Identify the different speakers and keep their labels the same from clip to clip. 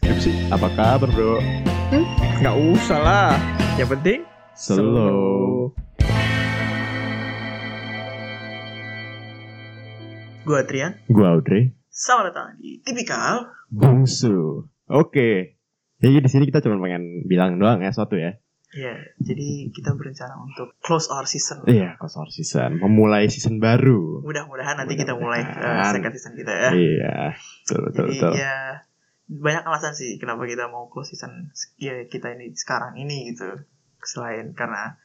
Speaker 1: Skripsi, apa kabar bro?
Speaker 2: Nggak usah lah. Yang penting
Speaker 1: Slow.
Speaker 2: Gua Trian.
Speaker 1: Gua Audrey.
Speaker 2: Selamat datang di Tipikal.
Speaker 1: Bungsu. Oke. Ya, Jadi di sini kita cuma pengen bilang doang ya suatu ya.
Speaker 2: Ya, jadi kita berencana untuk close our season.
Speaker 1: Iya, kosor season. Memulai season baru.
Speaker 2: Mudah-mudahan nanti kita mulai
Speaker 1: Mudah-mudahan.
Speaker 2: eh, second season kita ya.
Speaker 1: Iya. Betul, betul,
Speaker 2: jadi
Speaker 1: betul.
Speaker 2: ya banyak alasan sih kenapa kita mau close season ya kita ini sekarang ini gitu. Selain karena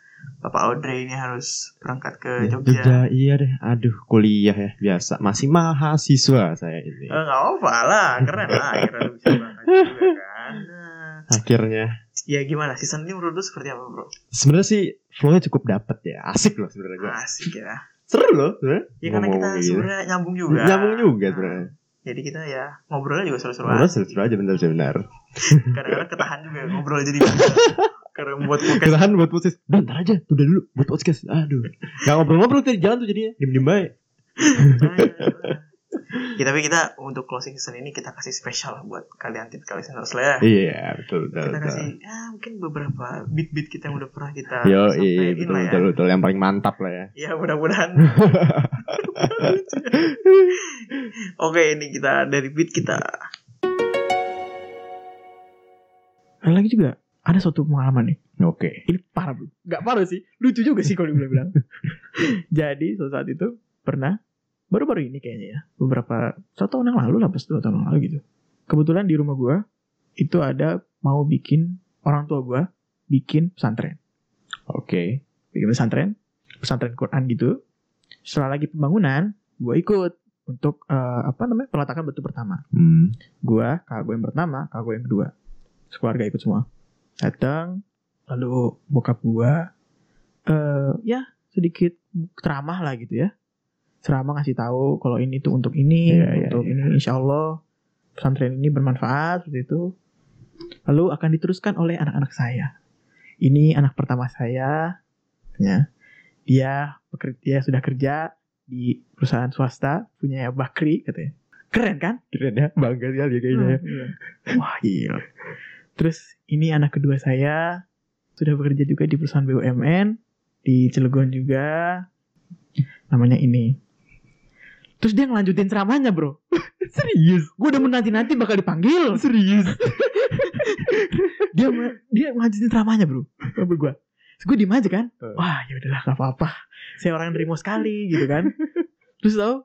Speaker 2: Bapak Audrey ini harus berangkat ke
Speaker 1: Ya,
Speaker 2: Jogja.
Speaker 1: Jogja, iya deh. Aduh, kuliah ya biasa. Masih mahasiswa saya ini.
Speaker 2: Eh, nggak apa lah, keren lah. Akhirnya lu bisa berangkat juga kan. Nah,
Speaker 1: Akhirnya.
Speaker 2: Ya gimana, season ini menurut lu seperti apa bro?
Speaker 1: Sebenarnya sih flow-nya cukup dapet ya. Asik loh sebenarnya gua.
Speaker 2: Asik ya.
Speaker 1: Seru loh sebenarnya.
Speaker 2: Ya karena kita
Speaker 1: Ngomong-ngomong gitu.
Speaker 2: sebenarnya nyambung juga.
Speaker 1: Nyambung juga
Speaker 2: Nah,
Speaker 1: sebenarnya.
Speaker 2: Jadi kita ya ngobrolnya juga seru-seru
Speaker 1: Sebenarnya
Speaker 2: aja.
Speaker 1: seru-seru aja bener-bener.
Speaker 2: Kadang-kadang ketahan juga ngobrol jadi karena buat podcast.
Speaker 1: Ketahan buat podcast. Dan ntar aja, udah dulu buat podcast. Aduh. Gak ngobrol-ngobrol tadi jalan tuh jadinya. Diem-diem baik.
Speaker 2: Ya, tapi kita untuk closing season ini kita kasih spesial lah buat kalian tipikal listeners lah ya.
Speaker 1: Iya, betul betul.
Speaker 2: Kita
Speaker 1: betul.
Speaker 2: kasih ya, mungkin beberapa beat-beat kita yang udah pernah kita
Speaker 1: Yo, iya,
Speaker 2: sampein
Speaker 1: betul,
Speaker 2: lah ya.
Speaker 1: betul, betul, yang paling mantap lah ya.
Speaker 2: Ya mudah-mudahan Oke ini kita dari beat kita
Speaker 3: Ada lagi juga ada suatu pengalaman nih.
Speaker 1: Oke.
Speaker 3: Ini parah bro. Gak parah sih. Lucu juga sih kalau dibilang. Jadi suatu saat itu pernah baru-baru ini kayaknya ya. Beberapa satu tahun yang lalu lah pas dua tahun yang lalu gitu. Kebetulan di rumah gua itu ada mau bikin orang tua gua bikin pesantren.
Speaker 1: Oke.
Speaker 3: Bikin pesantren. Pesantren Quran gitu. Setelah lagi pembangunan, gua ikut untuk eh, apa namanya peletakan batu pertama.
Speaker 1: Hmm.
Speaker 3: gua kakak gue yang pertama kakak gue yang kedua sekeluarga ikut semua datang lalu bokap gua eh ya sedikit ceramah lah gitu ya ceramah ngasih tahu kalau ini tuh untuk
Speaker 1: Iya,
Speaker 3: ini
Speaker 1: iya,
Speaker 3: untuk ini insya Allah pesantren ini bermanfaat seperti itu lalu akan diteruskan oleh anak-anak saya ini anak pertama saya ya dia bekerja dia sudah kerja di perusahaan swasta punya Bakri katanya keren kan
Speaker 1: Keren ya, bangga sekali ya kayaknya. ya.
Speaker 3: Iya. Wah gila. Terus ini anak kedua saya sudah bekerja juga di perusahaan BUMN di Cilegon juga. Namanya ini. Terus dia ngelanjutin ceramahnya bro.
Speaker 2: Hmm.
Speaker 1: Serius,
Speaker 3: Gue udah menanti-nanti bakal dipanggil.
Speaker 1: serius.
Speaker 3: Dia dia ngelanjutin ceramahnya bro. Sama gue. Terus gue diem aja kan.
Speaker 1: Eh.
Speaker 3: Wah ya udahlah gak apa-apa. Saya orang nerimo sekali gitu kan. Terus tau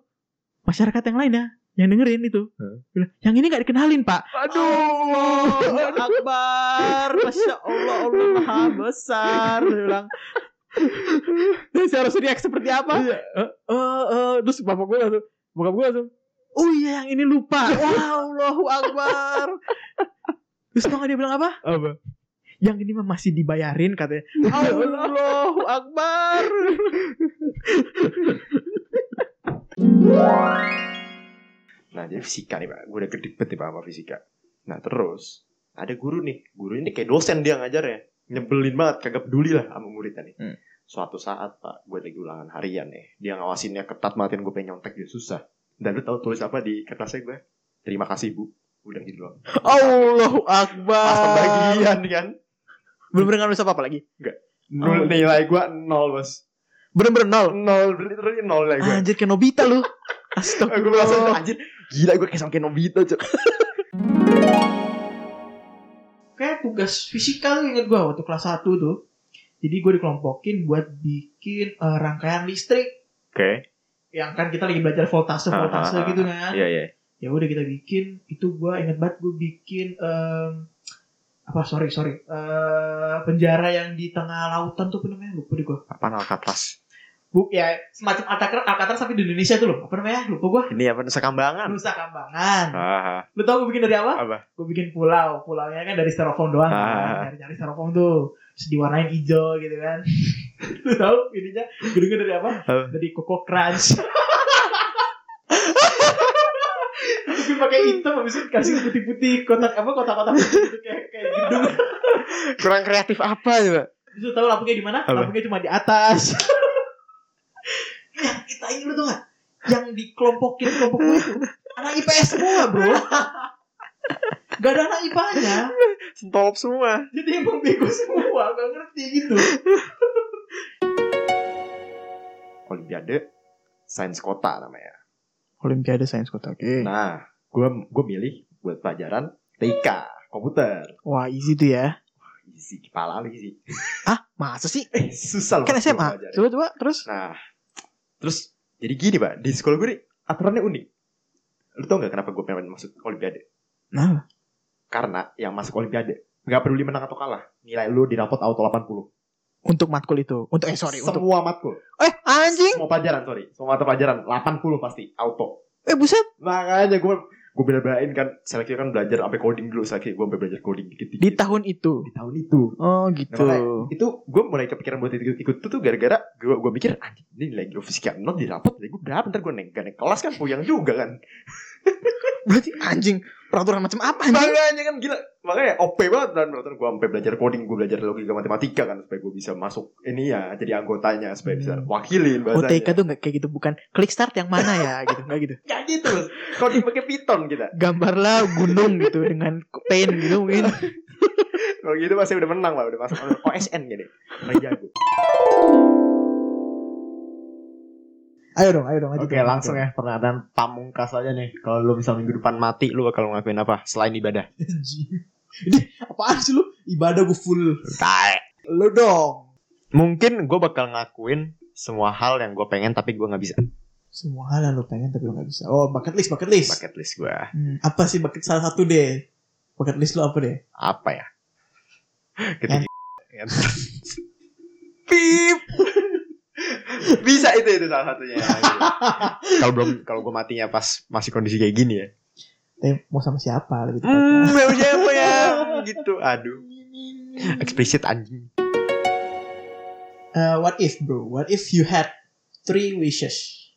Speaker 3: masyarakat yang lainnya yang dengerin itu.
Speaker 1: Eh.
Speaker 3: bilang, Yang ini gak dikenalin pak.
Speaker 1: Aduh.
Speaker 3: Akbar, Masya Allah, Allah Maha Besar. Dia bilang, terus harus react seperti apa?
Speaker 1: Iya.
Speaker 3: Eh, eh, eh. terus bapak gue langsung, bokap gue langsung, oh iya yang ini lupa. Wah, Allahu Akbar. terus tau gak dia bilang apa?
Speaker 1: Apa?
Speaker 3: Yang ini mah masih dibayarin katanya. Allahu Akbar.
Speaker 1: Nah, jadi fisika nih, Pak. Gue udah gede banget nih, Pak, sama fisika. Nah, terus ada guru nih. Guru ini kayak dosen dia ngajarnya. Nyebelin banget, kagak peduli lah sama muridnya nih.
Speaker 3: Hmm.
Speaker 1: Suatu saat, Pak, gue lagi ulangan harian nih. Dia ngawasinnya ketat banget, gue pengen nyontek dia susah. Dan lu tahu tulis apa di kertasnya gue? Terima kasih, Bu. Udah gitu doang.
Speaker 3: Allahu Akbar.
Speaker 1: Pas pembagian kan.
Speaker 3: Bener-bener gak Ah. nulis apa-apa lagi.
Speaker 1: Nul,
Speaker 3: Oh.
Speaker 1: nilai gue nol, Bos.
Speaker 3: Bener-bener nol.
Speaker 1: Nol, literally nol nilai gue.
Speaker 3: Anjir kayak Nobita lu.
Speaker 1: Gue langsung
Speaker 3: Astagfirullah.
Speaker 1: anjir, gila gue kayak sama kayak Nobita, Cuk.
Speaker 3: kayak tugas fisika tuh inget gue waktu kelas 1 tuh. Jadi gue dikelompokin buat bikin eh, rangkaian listrik
Speaker 1: Oke.
Speaker 3: yang kan kita lagi belajar voltase voltase
Speaker 1: Ah, ah,
Speaker 3: gitu kan.
Speaker 1: Iya, iya.
Speaker 3: Ya udah kita bikin itu gue inget banget gue bikin em, apa sorry sorry eh, penjara yang di tengah lautan tuh apa namanya lupa deh gue.
Speaker 1: Apa Alcatraz?
Speaker 3: Bu ya semacam alcatraz alcatraz tapi di Indonesia tuh loh apa namanya lupa gue.
Speaker 1: Ini apa Nusa Kambangan?
Speaker 3: Nusa Kambangan.
Speaker 1: Ah,
Speaker 3: Lu tau gue bikin dari apa?
Speaker 1: Apa?
Speaker 3: Gue bikin pulau. Pulaunya kan dari styrofoam doang.
Speaker 1: Ah.
Speaker 3: kan. Nyari-nyari styrofoam tuh. Terus diwarnain hijau gitu kan. Lu tau ininya gedungnya dari apa?
Speaker 1: Apa?
Speaker 3: Dari Coco Crunch. Bikin pakai hitam habis itu kasih putih-putih kotak apa kotak-kotak putih gitu kayak kayak gedung.
Speaker 1: kurang kreatif apa coba?
Speaker 3: Terus lu tau lampunya di mana?
Speaker 1: Apa?
Speaker 3: Lampunya cuma di atas. yang kita ini lu tau gak? Yang dikelompokin kelompok gue itu anak IPS semua bro. Gak ada anak IPA-nya.
Speaker 4: Stop semua.
Speaker 3: Jadi emang bego semua, gak ngerti gitu.
Speaker 1: Olimpiade Sains Kota namanya.
Speaker 4: Olimpiade Sains Kota. Oke.
Speaker 1: Nah, gue gue milih buat pelajaran TK komputer.
Speaker 4: Wah, easy tuh ya.
Speaker 1: Isi kepala lu isi.
Speaker 4: Ah, masa sih?
Speaker 1: Eh, susah loh.
Speaker 4: Kan
Speaker 1: gua
Speaker 4: SMA.
Speaker 1: pelajarin.
Speaker 4: Coba coba terus.
Speaker 1: Nah, terus jadi gini pak di sekolah gue nih aturannya unik. Lu tau nggak kenapa gue pengen masuk Olimpiade?
Speaker 4: Nah,
Speaker 1: Karena yang masuk Olimpiade nggak peduli menang atau kalah, nilai lu di rapot auto 80.
Speaker 4: untuk matkul itu. Untuk eh sorry, untuk
Speaker 1: semua matkul,
Speaker 4: Eh, anjing.
Speaker 1: semua pelajaran sorry, semua mata pelajaran 80 pasti auto.
Speaker 4: Eh, buset.
Speaker 1: Makanya gue gue bela-belain kan seleksi kan belajar sampai coding dulu seleksi gue sampai belajar coding dikit
Speaker 4: Di tahun itu.
Speaker 1: di tahun itu
Speaker 4: Oh, gitu.
Speaker 1: Makanya itu gue mulai kepikiran buat ikut ikut itu tuh gara-gara gue gue mikir anjing ini nilai geofisika not di rapot nilai gue berapa ntar gue naik gak naik kelas kan puyang juga kan
Speaker 4: Berarti anjing peraturan macam apa anjing?
Speaker 1: makanya kan gila makanya OP banget dan berarti gue sampai belajar coding gue belajar logika matematika kan supaya gue bisa masuk ini ya jadi anggotanya supaya bisa
Speaker 4: Hmm.
Speaker 1: wakilin
Speaker 4: OTK
Speaker 1: bahasanya
Speaker 4: tuh nggak kayak gitu bukan klik start yang mana ya gitu nggak gitu
Speaker 1: kayak gitu Mas. coding pakai Python kita
Speaker 4: gambarlah gunung gitu dengan paint gitu mungkin
Speaker 1: kalau gitu pasti udah menang lah udah masuk OSN gini Orang jago
Speaker 4: ayo dong ayo dong aja
Speaker 1: Oke
Speaker 4: dong.
Speaker 1: langsung ya pernyataan pamungkas aja nih Kalau lu bisa minggu depan mati Lu bakal ngelakuin apa selain ibadah
Speaker 4: Anjing. ini apaan sih lu ibadah gue full
Speaker 1: Tae
Speaker 4: lu dong
Speaker 1: mungkin gue bakal ngakuin semua hal yang gue pengen tapi gue nggak bisa
Speaker 4: semua hal yang lu pengen tapi lu nggak bisa oh bucket list bucket list
Speaker 1: bucket list gue
Speaker 4: Hmm, apa sih bucket salah satu deh bucket list lu apa deh
Speaker 1: apa ya
Speaker 4: Eh.
Speaker 1: ketika
Speaker 4: pip
Speaker 1: bisa itu itu salah satunya kalau belum kalau gue matinya pas masih kondisi kayak gini ya
Speaker 4: eh, mau sama siapa lebih tepatnya
Speaker 1: hmm mau siapa ya gitu aduh eksplisit anjing
Speaker 4: Eh, what if bro what if you had three wishes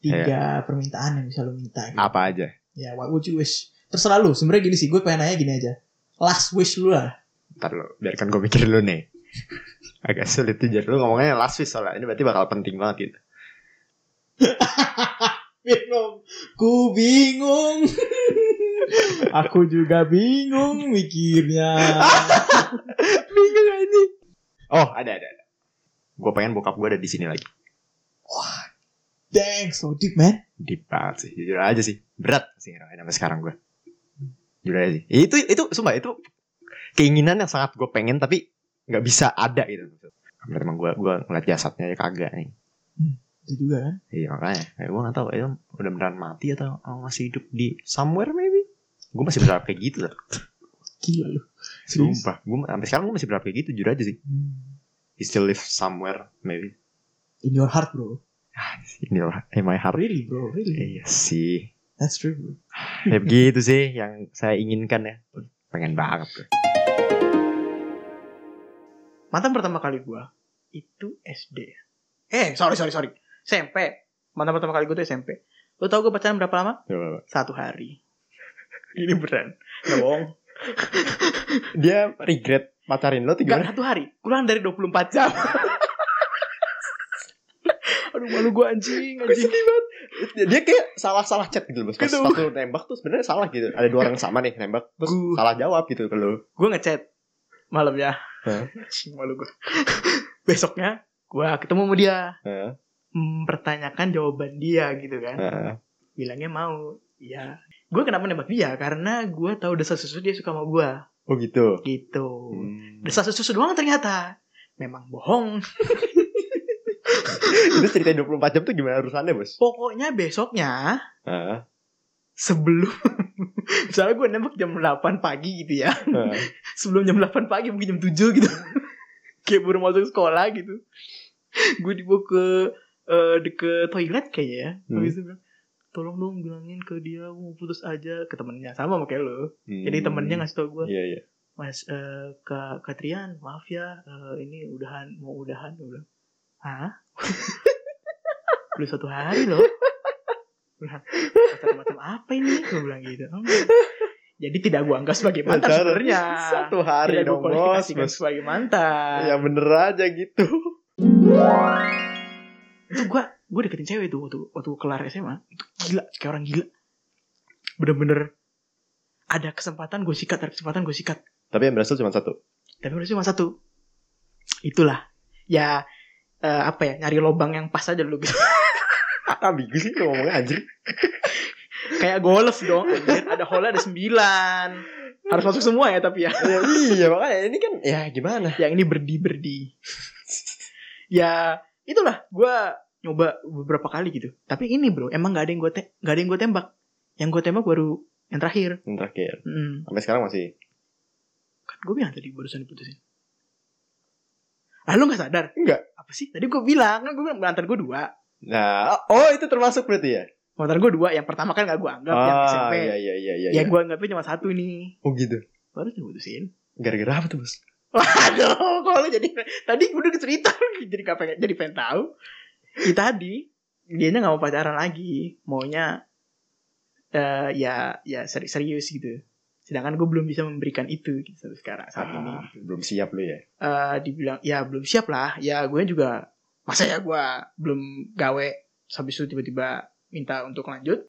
Speaker 4: tiga
Speaker 1: Iya.
Speaker 4: permintaan yang bisa lu minta gitu.
Speaker 1: apa aja
Speaker 4: Ya, what would you wish? Terserah lu. Sebenarnya gini sih, gue pengen nanya gini aja. Last wish lu lah.
Speaker 1: ntar lo biarkan gue mikir dulu nih agak sulit tuh jadi lu ngomongnya last wish soalnya ini berarti bakal penting banget gitu
Speaker 4: Bingung. Ku bingung. Aku juga bingung mikirnya.
Speaker 1: bingung ini oh ada ada, ada. gue pengen bokap gue ada di sini lagi
Speaker 4: Dang, so deep man.
Speaker 1: deep banget sih jujur aja sih berat sih ngerasain sampai sekarang gue jujur aja sih Ya, itu itu sumpah itu keinginan yang sangat gue pengen tapi nggak bisa ada gitu Karena emang gue gue ngeliat jasadnya aja kagak nih
Speaker 4: Itu juga kan.
Speaker 1: iya makanya kayak gue nggak tahu itu udah beneran mati atau oh, masih hidup di somewhere maybe gue masih berharap kayak gitu loh
Speaker 4: Gila lu. Serius.
Speaker 1: sumpah gue sampai sekarang gue masih berharap kayak gitu jujur aja sih
Speaker 4: Hmm.
Speaker 1: he still live somewhere maybe
Speaker 4: In your heart bro.
Speaker 1: ini lah in my heart
Speaker 4: Really bro, really.
Speaker 1: iya sih
Speaker 4: That's true bro.
Speaker 1: ya begitu sih yang saya inginkan ya pengen banget gue.
Speaker 3: Mantan pertama kali gue itu SD. Eh, sorry, sorry, sorry. SMP. Mantan pertama kali gue itu SMP. Lo tau gue pacaran berapa lama?
Speaker 1: Coba, Pak.
Speaker 3: Satu hari. Ini beneran. Gak bohong.
Speaker 1: dia regret pacarin lo tuh
Speaker 3: Gak
Speaker 1: gimana?
Speaker 3: satu hari. Kurang dari 24 jam. Aduh, malu gue anjing,
Speaker 1: Gue
Speaker 3: anjing.
Speaker 1: sedih banget. Dia- Dia kayak salah-salah chat gitu loh. Pas
Speaker 3: Gitu.
Speaker 1: waktu nembak tuh sebenarnya salah gitu. Ada dua orang sama nih nembak terus
Speaker 3: Gua-
Speaker 1: salah jawab gitu ke lo.
Speaker 3: gue ngechat malamnya
Speaker 1: Hah?
Speaker 3: Anjing, malu gue besoknya gue ketemu sama dia
Speaker 1: Heeh.
Speaker 3: mempertanyakan jawaban dia gitu kan
Speaker 1: Heeh.
Speaker 3: bilangnya mau iya gue kenapa nembak dia karena gue tahu desa susu dia suka sama gue
Speaker 1: Oh gitu.
Speaker 3: gitu
Speaker 1: Hmm.
Speaker 3: desa susu doang ternyata memang bohong
Speaker 1: Itu cerita 24 jam tuh gimana urusannya bos?
Speaker 3: pokoknya besoknya
Speaker 1: Heeh.
Speaker 3: sebelum misalnya gue nembak jam 8 pagi gitu ya
Speaker 1: Heeh.
Speaker 3: sebelum jam 8 pagi mungkin jam 7 gitu kayak baru masuk sekolah gitu gue dibawa ke eh, de- ke toilet kayaknya ya
Speaker 1: Hmm.
Speaker 3: habis itu bilang tolong dong bilangin ke dia mau putus aja ke temennya sama sama kayak lo
Speaker 1: Hmm.
Speaker 3: jadi temennya ngasih tau gue
Speaker 1: Iya iya.
Speaker 3: mas eh, kak Katrian maaf ya eh, ini udahan mau udahan gue bilang hah belum satu hari loh Gua bilang, macam-macam apa ini gue bilang gitu "Hmm." jadi tidak gue anggap sebagai mantan
Speaker 1: Pacaran
Speaker 3: sebenarnya
Speaker 1: Satu hari
Speaker 3: tidak
Speaker 1: dong
Speaker 3: gue
Speaker 1: bos.
Speaker 3: kualifikasikan
Speaker 1: bos.
Speaker 3: kan sebagai mantan
Speaker 1: Ya bener aja gitu.
Speaker 3: itu gue gue deketin cewek tuh waktu waktu kelar SMA itu gila kayak orang gila bener-bener ada kesempatan gue sikat ada kesempatan gue sikat
Speaker 1: Tapi yang berhasil cuma satu.
Speaker 3: tapi menurut cuma satu itulah ya eh, apa ya nyari lubang yang pas aja dulu gitu
Speaker 1: Ambigu sih lo ngomongnya anjir.
Speaker 3: kayak golf dong anjir. ada hole ada sembilan harus masuk semua ya tapi ya
Speaker 1: ya, iya makanya ini kan ya gimana?
Speaker 3: yang ini berdi berdi ya itulah gue nyoba beberapa kali gitu tapi ini bro emang nggak ada yang gue te- nggak ada yang gue tembak yang gue tembak baru yang terakhir
Speaker 1: Yang terakhir.
Speaker 3: hmm.
Speaker 1: Sampai sekarang masih.
Speaker 3: kan gue bilang tadi barusan diputusin ah lu nggak sadar
Speaker 1: Enggak.
Speaker 3: apa sih tadi gue bilang kan gue bilang mantan gue dua
Speaker 1: Nah, oh itu termasuk berarti ya?
Speaker 3: mantan gue dua yang pertama kan gak gue anggap yang Ya. SMP
Speaker 1: iya iya iya iya. iya.
Speaker 3: yang gue anggapnya cuma satu nih
Speaker 1: Oh gitu.
Speaker 3: baru diputusin
Speaker 1: Gara-gara apa tuh, Bos?
Speaker 3: Waduh, kalau lu jadi tadi udah cerita jadi gak pengen jadi pengen tahu. Ya, tadi dianya nggak mau pacaran lagi, maunya eh ya ya seri- serius gitu. Sedangkan gue belum bisa memberikan itu gitu sampai sekarang saat ini.
Speaker 1: Ah, belum siap lu ya.
Speaker 3: Eh dibilang ya belum siap lah, ya gue juga masa ya gue belum gawe terus habis itu tiba-tiba minta untuk lanjut.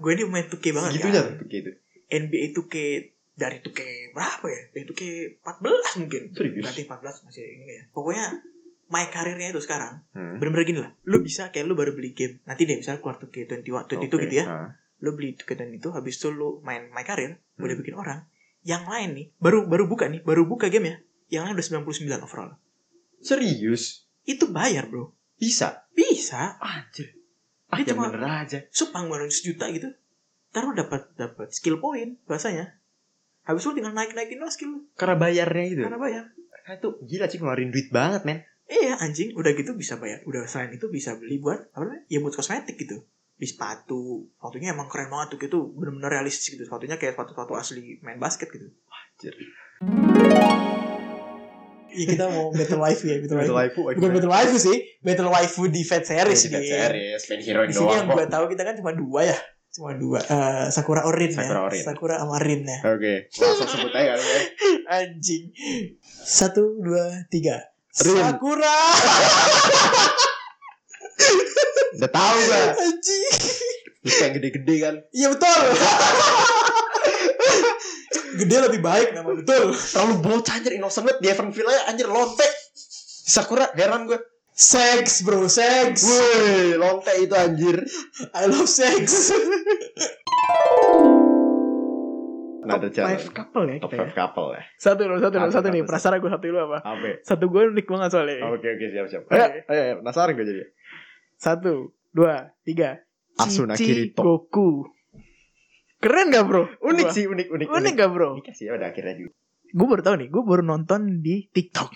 Speaker 3: Gue ini main 2K banget
Speaker 1: gitu
Speaker 3: kan.
Speaker 1: ya, begitu.
Speaker 3: NBA 2K dari 2K berapa ya? Dari 2K 14 mungkin.
Speaker 1: Serius?
Speaker 3: Berarti 14 masih ini ya. Pokoknya my karirnya itu sekarang
Speaker 1: Hmm.
Speaker 3: bener-bener gini lah. Lu bisa kayak lu baru beli game. Nanti deh misalnya keluar 2K 21, 22
Speaker 1: Oke,
Speaker 3: gitu ya.
Speaker 1: ah.
Speaker 3: Lu beli 2K dan itu habis itu lu main my karir,
Speaker 1: Hmm.
Speaker 3: udah bikin orang. Yang lain nih baru baru buka nih, baru buka game ya. Yang lain udah 99 overall.
Speaker 1: Serius?
Speaker 3: Itu bayar, Bro.
Speaker 1: Bisa?
Speaker 3: Bisa.
Speaker 1: Anjir.
Speaker 3: Ah,
Speaker 1: Ah,
Speaker 3: yang
Speaker 1: cuma...
Speaker 3: bener
Speaker 1: bener aja.
Speaker 3: Supang baru sejuta gitu. Ntar lu dapat dapat skill point bahasanya. Habis itu lu tinggal naik-naikin lah skill lu.
Speaker 1: Karena bayarnya gitu.
Speaker 3: Karena bayar.
Speaker 1: Karena itu gila sih ngeluarin duit banget, men.
Speaker 3: Iya anjing, udah gitu bisa bayar. Udah selain itu bisa beli buat apa namanya? Ya buat kosmetik gitu. Beli sepatu. Sepatunya emang keren banget tuh gitu, bener-bener realistis gitu. Sepatunya kayak sepatu-sepatu asli main basket gitu.
Speaker 1: Anjir.
Speaker 3: Iya kita mau better life ya, better life.
Speaker 1: waifu.
Speaker 3: Bukan better life sih, better life di Fat Series di.
Speaker 1: Series, fan hero
Speaker 3: Di sini yang gue tahu kita kan cuma dua ya. Cuma dua. Eh, Sakura Orin
Speaker 1: Sakura
Speaker 3: ya.
Speaker 1: Orin.
Speaker 3: Sakura sama Rin ya.
Speaker 1: Oke, langsung sebut aja kan ya.
Speaker 3: Anjing. Satu, dua, tiga.
Speaker 1: Rin.
Speaker 3: Sakura.
Speaker 1: Udah tahu gua.
Speaker 3: Anjing.
Speaker 1: Terus yang gede-gede kan.
Speaker 3: Iya betul. Gede lebih baik nama betul.
Speaker 1: Terlalu bocah anjir, innocent banget. Di Evanville aja anjir lontek. Sakura heran gue.
Speaker 3: Sex bro, sex.
Speaker 1: Woi, lontek itu anjir.
Speaker 3: I love sex.
Speaker 1: Nah, ada cara.
Speaker 3: couple ya
Speaker 1: Top 5 couple ya.
Speaker 3: Satu dulu, satu dulu,
Speaker 1: Apa,
Speaker 3: satu
Speaker 1: apa,
Speaker 3: nih.
Speaker 1: apa?
Speaker 3: Perasaan gue satu dulu apa?
Speaker 1: Ape.
Speaker 3: Satu gue unik banget soalnya.
Speaker 1: Oke, oke, siap, siap.
Speaker 3: Oke.
Speaker 1: Ayo, ayo, ayo, penasaran gue jadi.
Speaker 3: Satu, dua, tiga.
Speaker 1: Asuna
Speaker 3: Cici
Speaker 1: Kirito.
Speaker 3: Goku. Keren gak bro?
Speaker 1: Unik
Speaker 3: Gua.
Speaker 1: sih, unik, unik.
Speaker 3: Unik gak bro?
Speaker 1: Ini kasih ya udah akhirnya juga.
Speaker 3: Gue baru tau nih, gue baru nonton di TikTok.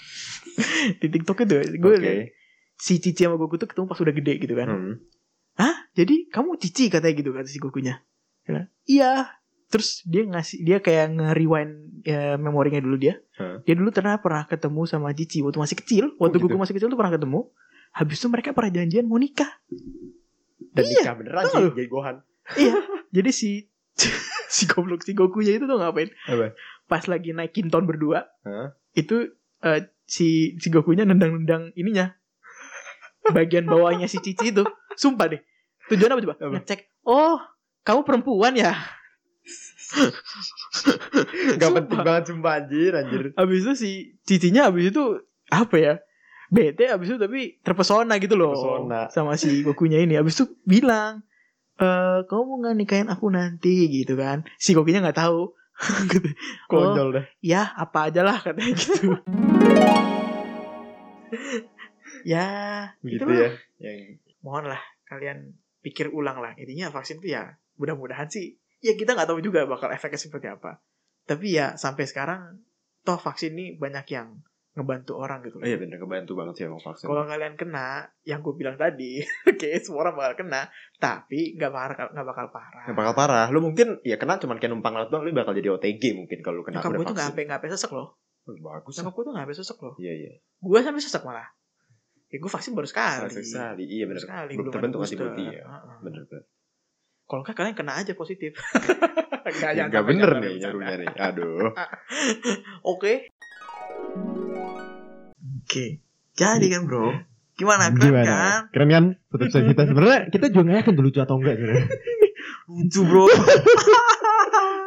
Speaker 3: di TikTok itu, gue
Speaker 1: Oke.
Speaker 3: liat si Cici sama Goku tuh ketemu pas udah gede gitu kan.
Speaker 1: Hmm.
Speaker 3: Hah? Jadi kamu cici katanya gitu kata si Gokunya. Dia bilang, Iya. Terus dia ngasih dia kayak nge-rewind ya, memorinya dulu dia.
Speaker 1: Hah.
Speaker 3: Dia dulu pernah pernah ketemu sama Cici waktu masih kecil. Waktu
Speaker 1: gitu?
Speaker 3: Goku masih kecil tuh pernah ketemu. Habis itu mereka pernah janjian mau nikah.
Speaker 1: Dan
Speaker 3: Iya,
Speaker 1: nikah beneran
Speaker 3: tau
Speaker 1: sih,
Speaker 3: lu.
Speaker 1: jadi gohan.
Speaker 3: Iya. Jadi si si goblok si Gokunya itu tuh ngapain?
Speaker 1: Apa?
Speaker 3: Pas lagi naikin ton berdua,
Speaker 1: Hah?
Speaker 3: itu eh, si si Gokunya nendang-nendang ininya. Bagian bawahnya si Cici itu. Sumpah deh. Tujuan apa coba?
Speaker 1: Apa?
Speaker 3: Ngecek. Oh, kamu perempuan ya?
Speaker 1: Gak
Speaker 3: Sumpah.
Speaker 1: penting banget sumpah anjir, anjir.
Speaker 3: Abis itu si cicinya abis itu apa ya? Bete abis itu tapi terpesona gitu loh.
Speaker 1: Terpesona.
Speaker 3: Sama si Gokunya ini. Abis itu bilang, eh kamu mau gak nikahin aku nanti gitu kan. Si Gokunya gak tahu. Gitu.
Speaker 1: Konyol dah.
Speaker 3: ya apa aja lah katanya gitu. ya
Speaker 1: Gitu
Speaker 3: itulah.
Speaker 1: ya. Yang
Speaker 3: Mohon lah kalian pikir ulang lah. Intinya vaksin tuh ya mudah-mudahan sih. Ya kita nggak tahu juga bakal efeknya seperti apa. Tapi ya sampai sekarang toh vaksin ini banyak yang ngebantu orang gitu.
Speaker 1: Oh iya bener kebantu banget sih emang vaksin.
Speaker 3: Kalau kalian kena, yang gue bilang tadi, oke semua orang bakal kena, tapi nggak bakal nggak bakal parah.
Speaker 1: Yang bakal parah. Lu mungkin ya kena cuman kayak numpang laut doang lu bakal jadi OTG mungkin kalau lu kena
Speaker 3: Nyokap
Speaker 1: udah
Speaker 3: gue tuh nggak
Speaker 1: vaksin.
Speaker 3: sampai nggak sampai sesek loh.
Speaker 1: Oh, Bagus.
Speaker 3: Nyokap gue tuh nggak sampai sesek loh.
Speaker 1: Iya iya.
Speaker 3: Gue sampai sesek malah. Ya gue vaksin baru sekali.
Speaker 1: Sekali. sekali. Iya
Speaker 3: Baru
Speaker 1: bener.
Speaker 3: sekali.
Speaker 1: Belum
Speaker 3: ada
Speaker 1: terbentuk
Speaker 3: booster.
Speaker 1: antibody ya.
Speaker 3: Heeh.
Speaker 1: Bener bener.
Speaker 3: Kalau nggak kalian kena aja positif.
Speaker 1: Ya,
Speaker 3: Gak,
Speaker 1: Nggak bener nih nyarunya nih. Aduh.
Speaker 3: Oke. Oke. Jadi kan bro, gimana keren kan?
Speaker 1: Keren kan? Tutup kita sebenarnya
Speaker 4: Kita juga nggak yakin dulu lucu atau enggak sebenarnya.
Speaker 3: lucu bro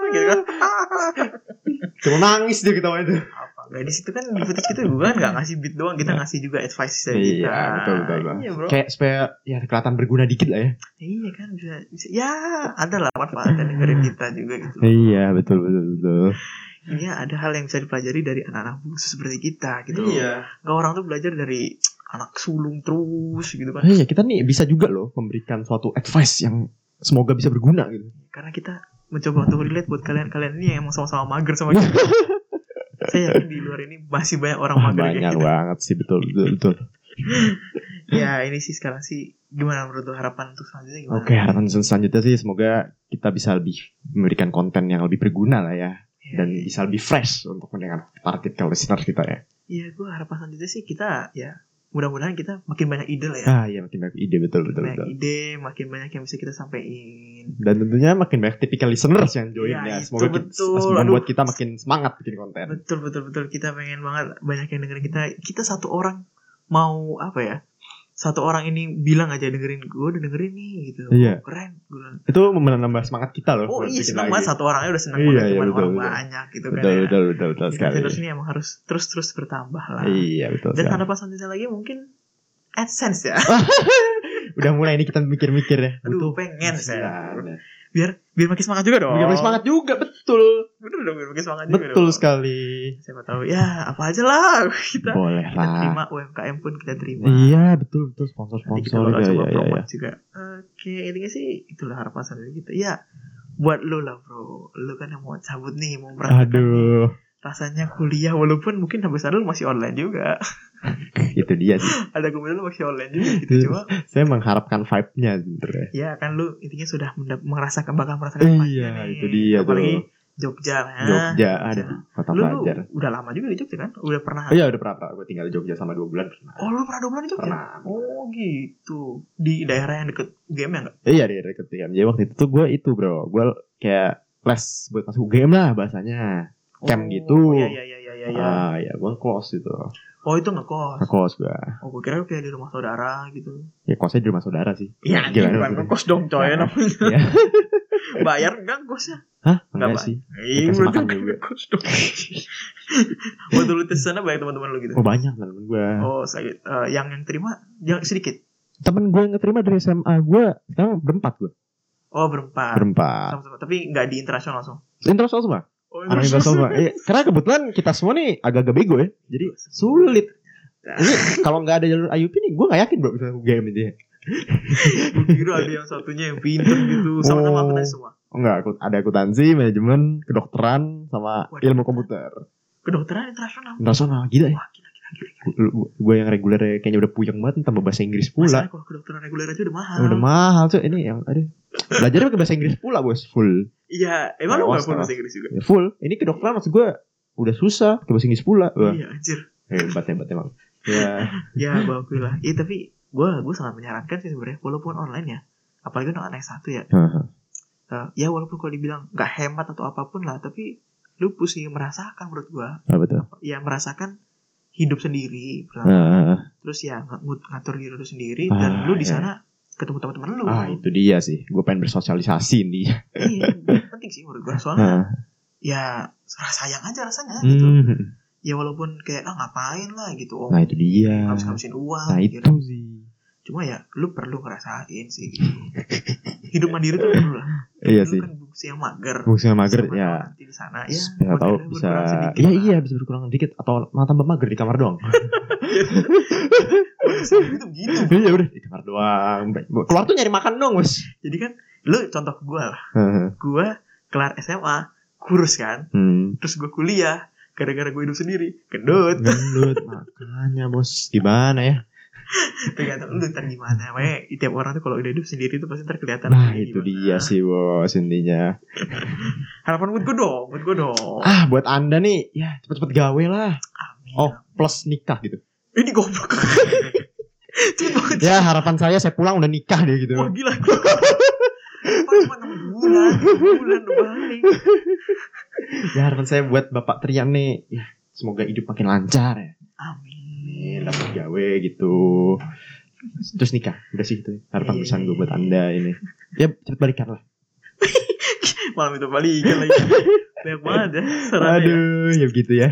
Speaker 3: gitu kan
Speaker 1: Cuma nangis dia ketawa itu.
Speaker 3: apa nggak di situ kan di footage kita bukan nggak ngasih beat doang kita ngasih juga advice
Speaker 1: Iya,
Speaker 3: dari kita
Speaker 1: betul, betul, betul.
Speaker 3: iya bro
Speaker 1: Kayak supaya ya kelihatan berguna dikit lah ya.
Speaker 3: iya kan bisa, bisa ya ada lah manfaatnya dari kita juga gitu
Speaker 1: Hmm. Iya, betul betul betul.
Speaker 3: ini ada hal yang bisa dipelajari dari anak-anak bungsu seperti kita gitu
Speaker 1: Iya.
Speaker 3: nggak orang tuh belajar dari anak sulung terus gitu kan
Speaker 1: Iya, kita nih bisa juga loh memberikan suatu advice yang semoga bisa berguna gitu.
Speaker 3: karena kita mencoba untuk relate buat kalian-kalian ini yang emang sama-sama mager sama kita saya yakin di luar ini masih banyak orang
Speaker 1: Wah,
Speaker 3: mager kayak gitu.
Speaker 1: banyak
Speaker 3: kita
Speaker 1: banget sih betul betul betul.
Speaker 3: ya ini sih sekarang sih gimana menurut lo harapan untuk selanjutnya gimana
Speaker 1: Oke, harapan sel- Nah, selanjutnya sih semoga kita bisa lebih memberikan konten yang lebih berguna lah ya
Speaker 3: Ya,
Speaker 1: dan bisa lebih fresh untuk mendengar target ke listener kita ya.
Speaker 3: Iya, gue harapan selanjutnya sih kita ya mudah-mudahan kita makin banyak ide lah ya.
Speaker 1: Ah iya makin banyak ide betul betul
Speaker 3: banyak
Speaker 1: betul.
Speaker 3: ide, makin banyak yang bisa kita sampaikan.
Speaker 1: Dan tentunya makin banyak tipikal listeners yang join
Speaker 3: Ya,
Speaker 1: ya.
Speaker 3: itu
Speaker 1: Semoga kita,
Speaker 3: betul.
Speaker 1: semoga membuat
Speaker 3: Aduh.
Speaker 1: kita makin semangat bikin konten.
Speaker 3: Betul betul betul kita pengen banget banyak yang dengerin kita. Kita satu orang mau apa ya? Satu orang ini bilang aja dengerin gue udah dengerin nih gitu.
Speaker 1: Iya.
Speaker 3: Keren. Gue bilang,
Speaker 1: Itu menambah semangat kita loh.
Speaker 3: oh
Speaker 1: buat
Speaker 3: iya
Speaker 1: bikin
Speaker 3: seneng
Speaker 1: lagi.
Speaker 3: banget satu orangnya udah seneng
Speaker 1: Iya,
Speaker 3: banget
Speaker 1: iya,
Speaker 3: cuman
Speaker 1: betul,
Speaker 3: orang
Speaker 1: betul.
Speaker 3: banyak gitu
Speaker 1: Betul
Speaker 3: kan.
Speaker 1: betul betul betul
Speaker 3: Jadi
Speaker 1: sekali.
Speaker 3: terus ini emang harus terus-terus bertambah lah.
Speaker 1: Iya betul.
Speaker 3: Dan
Speaker 1: sekali.
Speaker 3: harapan selanjutnya lagi mungkin AdSense ya.
Speaker 1: Udah mulai nih kita mikir-mikir ya.
Speaker 3: Aduh, pengen Oh. saya.
Speaker 1: Iya.
Speaker 3: Biar biar makin semangat juga dong.
Speaker 1: Biar makin semangat juga betul.
Speaker 3: Bener dong, biar makin semangat juga dong.
Speaker 1: Betul sekali.
Speaker 3: siapa tahu ya apa aja lah kita
Speaker 1: Boleh
Speaker 3: kita
Speaker 1: lah.
Speaker 3: terima UMKM pun kita terima
Speaker 1: Iya betul betul
Speaker 3: nanti kita
Speaker 1: sponsor-sponsor ya
Speaker 3: bakal coba
Speaker 1: ya ya.
Speaker 3: promote juga oke intinya sih itulah harapan selanjutnya kita ya buat lo lah bro lo kan yang mau cabut nih mau
Speaker 1: iya.
Speaker 3: berangkat nih.
Speaker 1: Aduh,
Speaker 3: rasanya kuliah walaupun mungkin sampai sekarang lo masih online juga
Speaker 1: itu dia sih.
Speaker 3: ada kemudian lo masih online juga gitu cuma
Speaker 1: Saya mengharapkan vibe-nya sebenarnya.
Speaker 3: ya kan lo intinya sudah mendap- merasakan bakal
Speaker 1: Iya,
Speaker 3: merasakan vibe-nya nih.
Speaker 1: itu dia
Speaker 3: apalagi ah,
Speaker 1: tuh.
Speaker 3: Jogja lah
Speaker 1: Jogja, ada kota
Speaker 3: lo, lo
Speaker 1: pelajar.
Speaker 3: udah lama juga di Jogja kan udah pernah
Speaker 1: Oh, Iya udah pernah, pernah. Gue tinggal di Jogja sama 2 bulan pernah.
Speaker 3: oh lo pernah dua bulan di Jogja
Speaker 1: Pernah.
Speaker 3: Oh gitu. Di daerah yang deket game ya enggak?
Speaker 1: Iya di deket UGM. Jadi waktu itu tuh gue itu bro, gue kayak les buat masuk UGM lah bahasanya. Camp gitu.
Speaker 3: Iya iya iya iya iya. Ya.
Speaker 1: Ah ya gue kos itu,
Speaker 3: oh itu ngekos.
Speaker 1: kos gue.
Speaker 3: Oh gue kira lu kayak di rumah saudara gitu.
Speaker 1: Ya kosnya di rumah saudara sih.
Speaker 3: Iya
Speaker 1: Gila,
Speaker 3: anjing bukan
Speaker 1: gila.
Speaker 3: ngekos dong coy
Speaker 1: Nah.
Speaker 3: namanya.
Speaker 1: Iya.
Speaker 3: Bayar enggak ngekosnya?
Speaker 1: Hah?
Speaker 3: Nggak,
Speaker 1: Enggak
Speaker 3: Pak.
Speaker 1: sih.
Speaker 3: Iya
Speaker 1: Dikasih
Speaker 3: berarti
Speaker 1: makan
Speaker 3: bukan
Speaker 1: juga.
Speaker 3: ngekos dong. Waktu lu tes sana banyak teman-teman lu gitu.
Speaker 1: Oh banyak temen gue.
Speaker 3: Oh sakit. Eh, yang yang terima yang sedikit.
Speaker 1: Temen gue yang keterima dari SMA gue sekarang berempat gue.
Speaker 3: Oh berempat.
Speaker 1: Berempat.
Speaker 3: Sama-sama. Tapi enggak di internasional langsung.
Speaker 1: Intro soal semua.
Speaker 3: Oh,
Speaker 1: Anak Imbas semua. Iya, karena kebetulan kita semua nih agak-agak bego ya. Jadi sulit. Ini kalau nggak ada jalur IUP nih, gue nggak yakin bro bisa UGM ini. ya.
Speaker 3: Gue kira gitu, ada yang satunya yang pinter gitu. Sama-sama
Speaker 1: Oh.
Speaker 3: apa tadi semua?
Speaker 1: Oh, Nggak, aku- ada akuntansi, manajemen, kedokteran, sama
Speaker 3: Waduh.
Speaker 1: ilmu komputer.
Speaker 3: Kedokteran internasional.
Speaker 1: Internasional, gila ya.
Speaker 3: Wah gila gila gila.
Speaker 1: Gue yang reguler kayaknya udah puyeng banget, tambah bahasa Inggris pula. Ya,
Speaker 3: Masalahnya kalau kedokteran reguler aja udah mahal.
Speaker 1: Udah mahal tuh, ini yang ada. Belajarnya pakai bahasa Inggris pula bos, full.
Speaker 3: Iya, emang lu
Speaker 1: Tewas,
Speaker 3: gak full
Speaker 1: tewas.
Speaker 3: bahasa Inggris juga?
Speaker 1: Ya, full. Ini kedokteran maksud gue udah susah, pakai bahasa Inggris pula. Wah,
Speaker 3: Iya, anjir.
Speaker 1: hebat, hebat emang. Ya,
Speaker 3: Ya, bagus lah. Iya, tapi gue gue sangat menyarankan sih sebenarnya, walaupun online ya, apalagi untuk anak satu ya.
Speaker 1: Heeh.
Speaker 3: Eh, ya walaupun kalau dibilang nggak hemat atau apapun lah, tapi lu pusing merasakan menurut gue.
Speaker 1: apa tuh?
Speaker 3: Ya merasakan hidup sendiri, pertama.
Speaker 1: Ah,
Speaker 3: terus ya ng- ngatur diri lu sendiri
Speaker 1: Ah,
Speaker 3: dan lu di
Speaker 1: iya.
Speaker 3: sana ketemu teman-teman lu.
Speaker 1: ah, itu dia sih. Gue pengen bersosialisasi nih.
Speaker 3: Iya, penting sih menurut gue soalnya.
Speaker 1: Ah.
Speaker 3: Ya rasa sayang aja rasanya gitu.
Speaker 1: Hmm,
Speaker 3: Ya walaupun kayak ah ngapain lah gitu, oh
Speaker 1: Nah itu dia.
Speaker 3: habis-habisin uang.
Speaker 1: Nah
Speaker 3: gitu.
Speaker 1: itu sih.
Speaker 3: cuma ya lu perlu ngerasain sih gitu. hidup mandiri tuh perlu lah
Speaker 1: Iya
Speaker 3: lu
Speaker 1: sih.
Speaker 3: kan bungsu yang mager
Speaker 1: Fungsinya mager
Speaker 3: Sama
Speaker 1: ya.
Speaker 3: nanti di sana ya
Speaker 1: Bisa tahu
Speaker 3: magernya
Speaker 1: bisa.
Speaker 3: berkurang sedikit
Speaker 1: Iya
Speaker 3: lah.
Speaker 1: iya bisa berkurang dikit atau malah tambah mager di kamar doang.
Speaker 3: Orang sendiri tuh gitu begitu
Speaker 1: Iya udah di kamar doang. Keluar tuh nyari makan dong bos.
Speaker 3: jadi kan lu contoh ke gue lah
Speaker 1: Heeh.
Speaker 3: gue kelar SMA kurus kan
Speaker 1: Hmm.
Speaker 3: terus gue kuliah gara-gara gue hidup sendiri gendut
Speaker 1: Gendut makanya bos gimana ya?
Speaker 3: tergantung lu ntar gimana makanya tiap orang tuh kalau udah hidup sendiri tuh pasti ntar kelihatan
Speaker 1: Nah
Speaker 3: dia
Speaker 1: itu
Speaker 3: gimana.
Speaker 1: dia sih bos intinya.
Speaker 3: harapan buat gue dong buat gue dong
Speaker 1: Ah buat anda nih ya cepet-cepet gawe lah.
Speaker 3: amin
Speaker 1: Oh plus nikah gitu.
Speaker 3: ini goblok cepet banget
Speaker 1: Ya harapan saya saya pulang udah nikah deh gitu.
Speaker 3: Wah gila gue Cuma 6 bulan 6 bulan udah balik
Speaker 1: Ya harapan saya buat bapak Trian nih. Ya semoga hidup makin lancar ya.
Speaker 3: Amin
Speaker 1: Amin, dapat gawe gitu. Terus nikah, udah sih itu harapan
Speaker 3: Iya.
Speaker 1: besar gue buat anda ini. Ya cepet balikan lah.
Speaker 3: malam itu balikan lagi banyak banget ya sarannya ya.
Speaker 1: Aduh, ya begitu ya.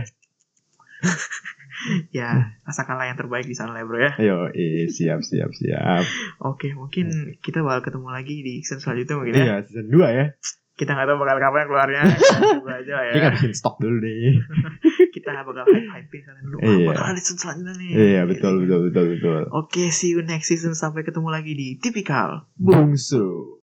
Speaker 3: ya katakanlah yang terbaik di sana lah ya, bro ya
Speaker 1: Ayo, eh, siap, siap, siap.
Speaker 3: oke mungkin kita bakal ketemu lagi di season selanjutnya mungkin ya
Speaker 1: Iya, season 2 ya.
Speaker 3: kita nggak tahu bakal kapan keluarnya Coba aja lah
Speaker 1: Kita
Speaker 3: ya
Speaker 1: harus bikin stok dulu deh.
Speaker 3: kita bakal hype hype sana dulu Wah,
Speaker 1: Iya.
Speaker 3: bakal ada season selanjutnya nih
Speaker 1: Iya, betul, betul, betul, betul.
Speaker 3: Oke, see you next season. Sampai ketemu lagi di Tipikal.
Speaker 1: Bungsu.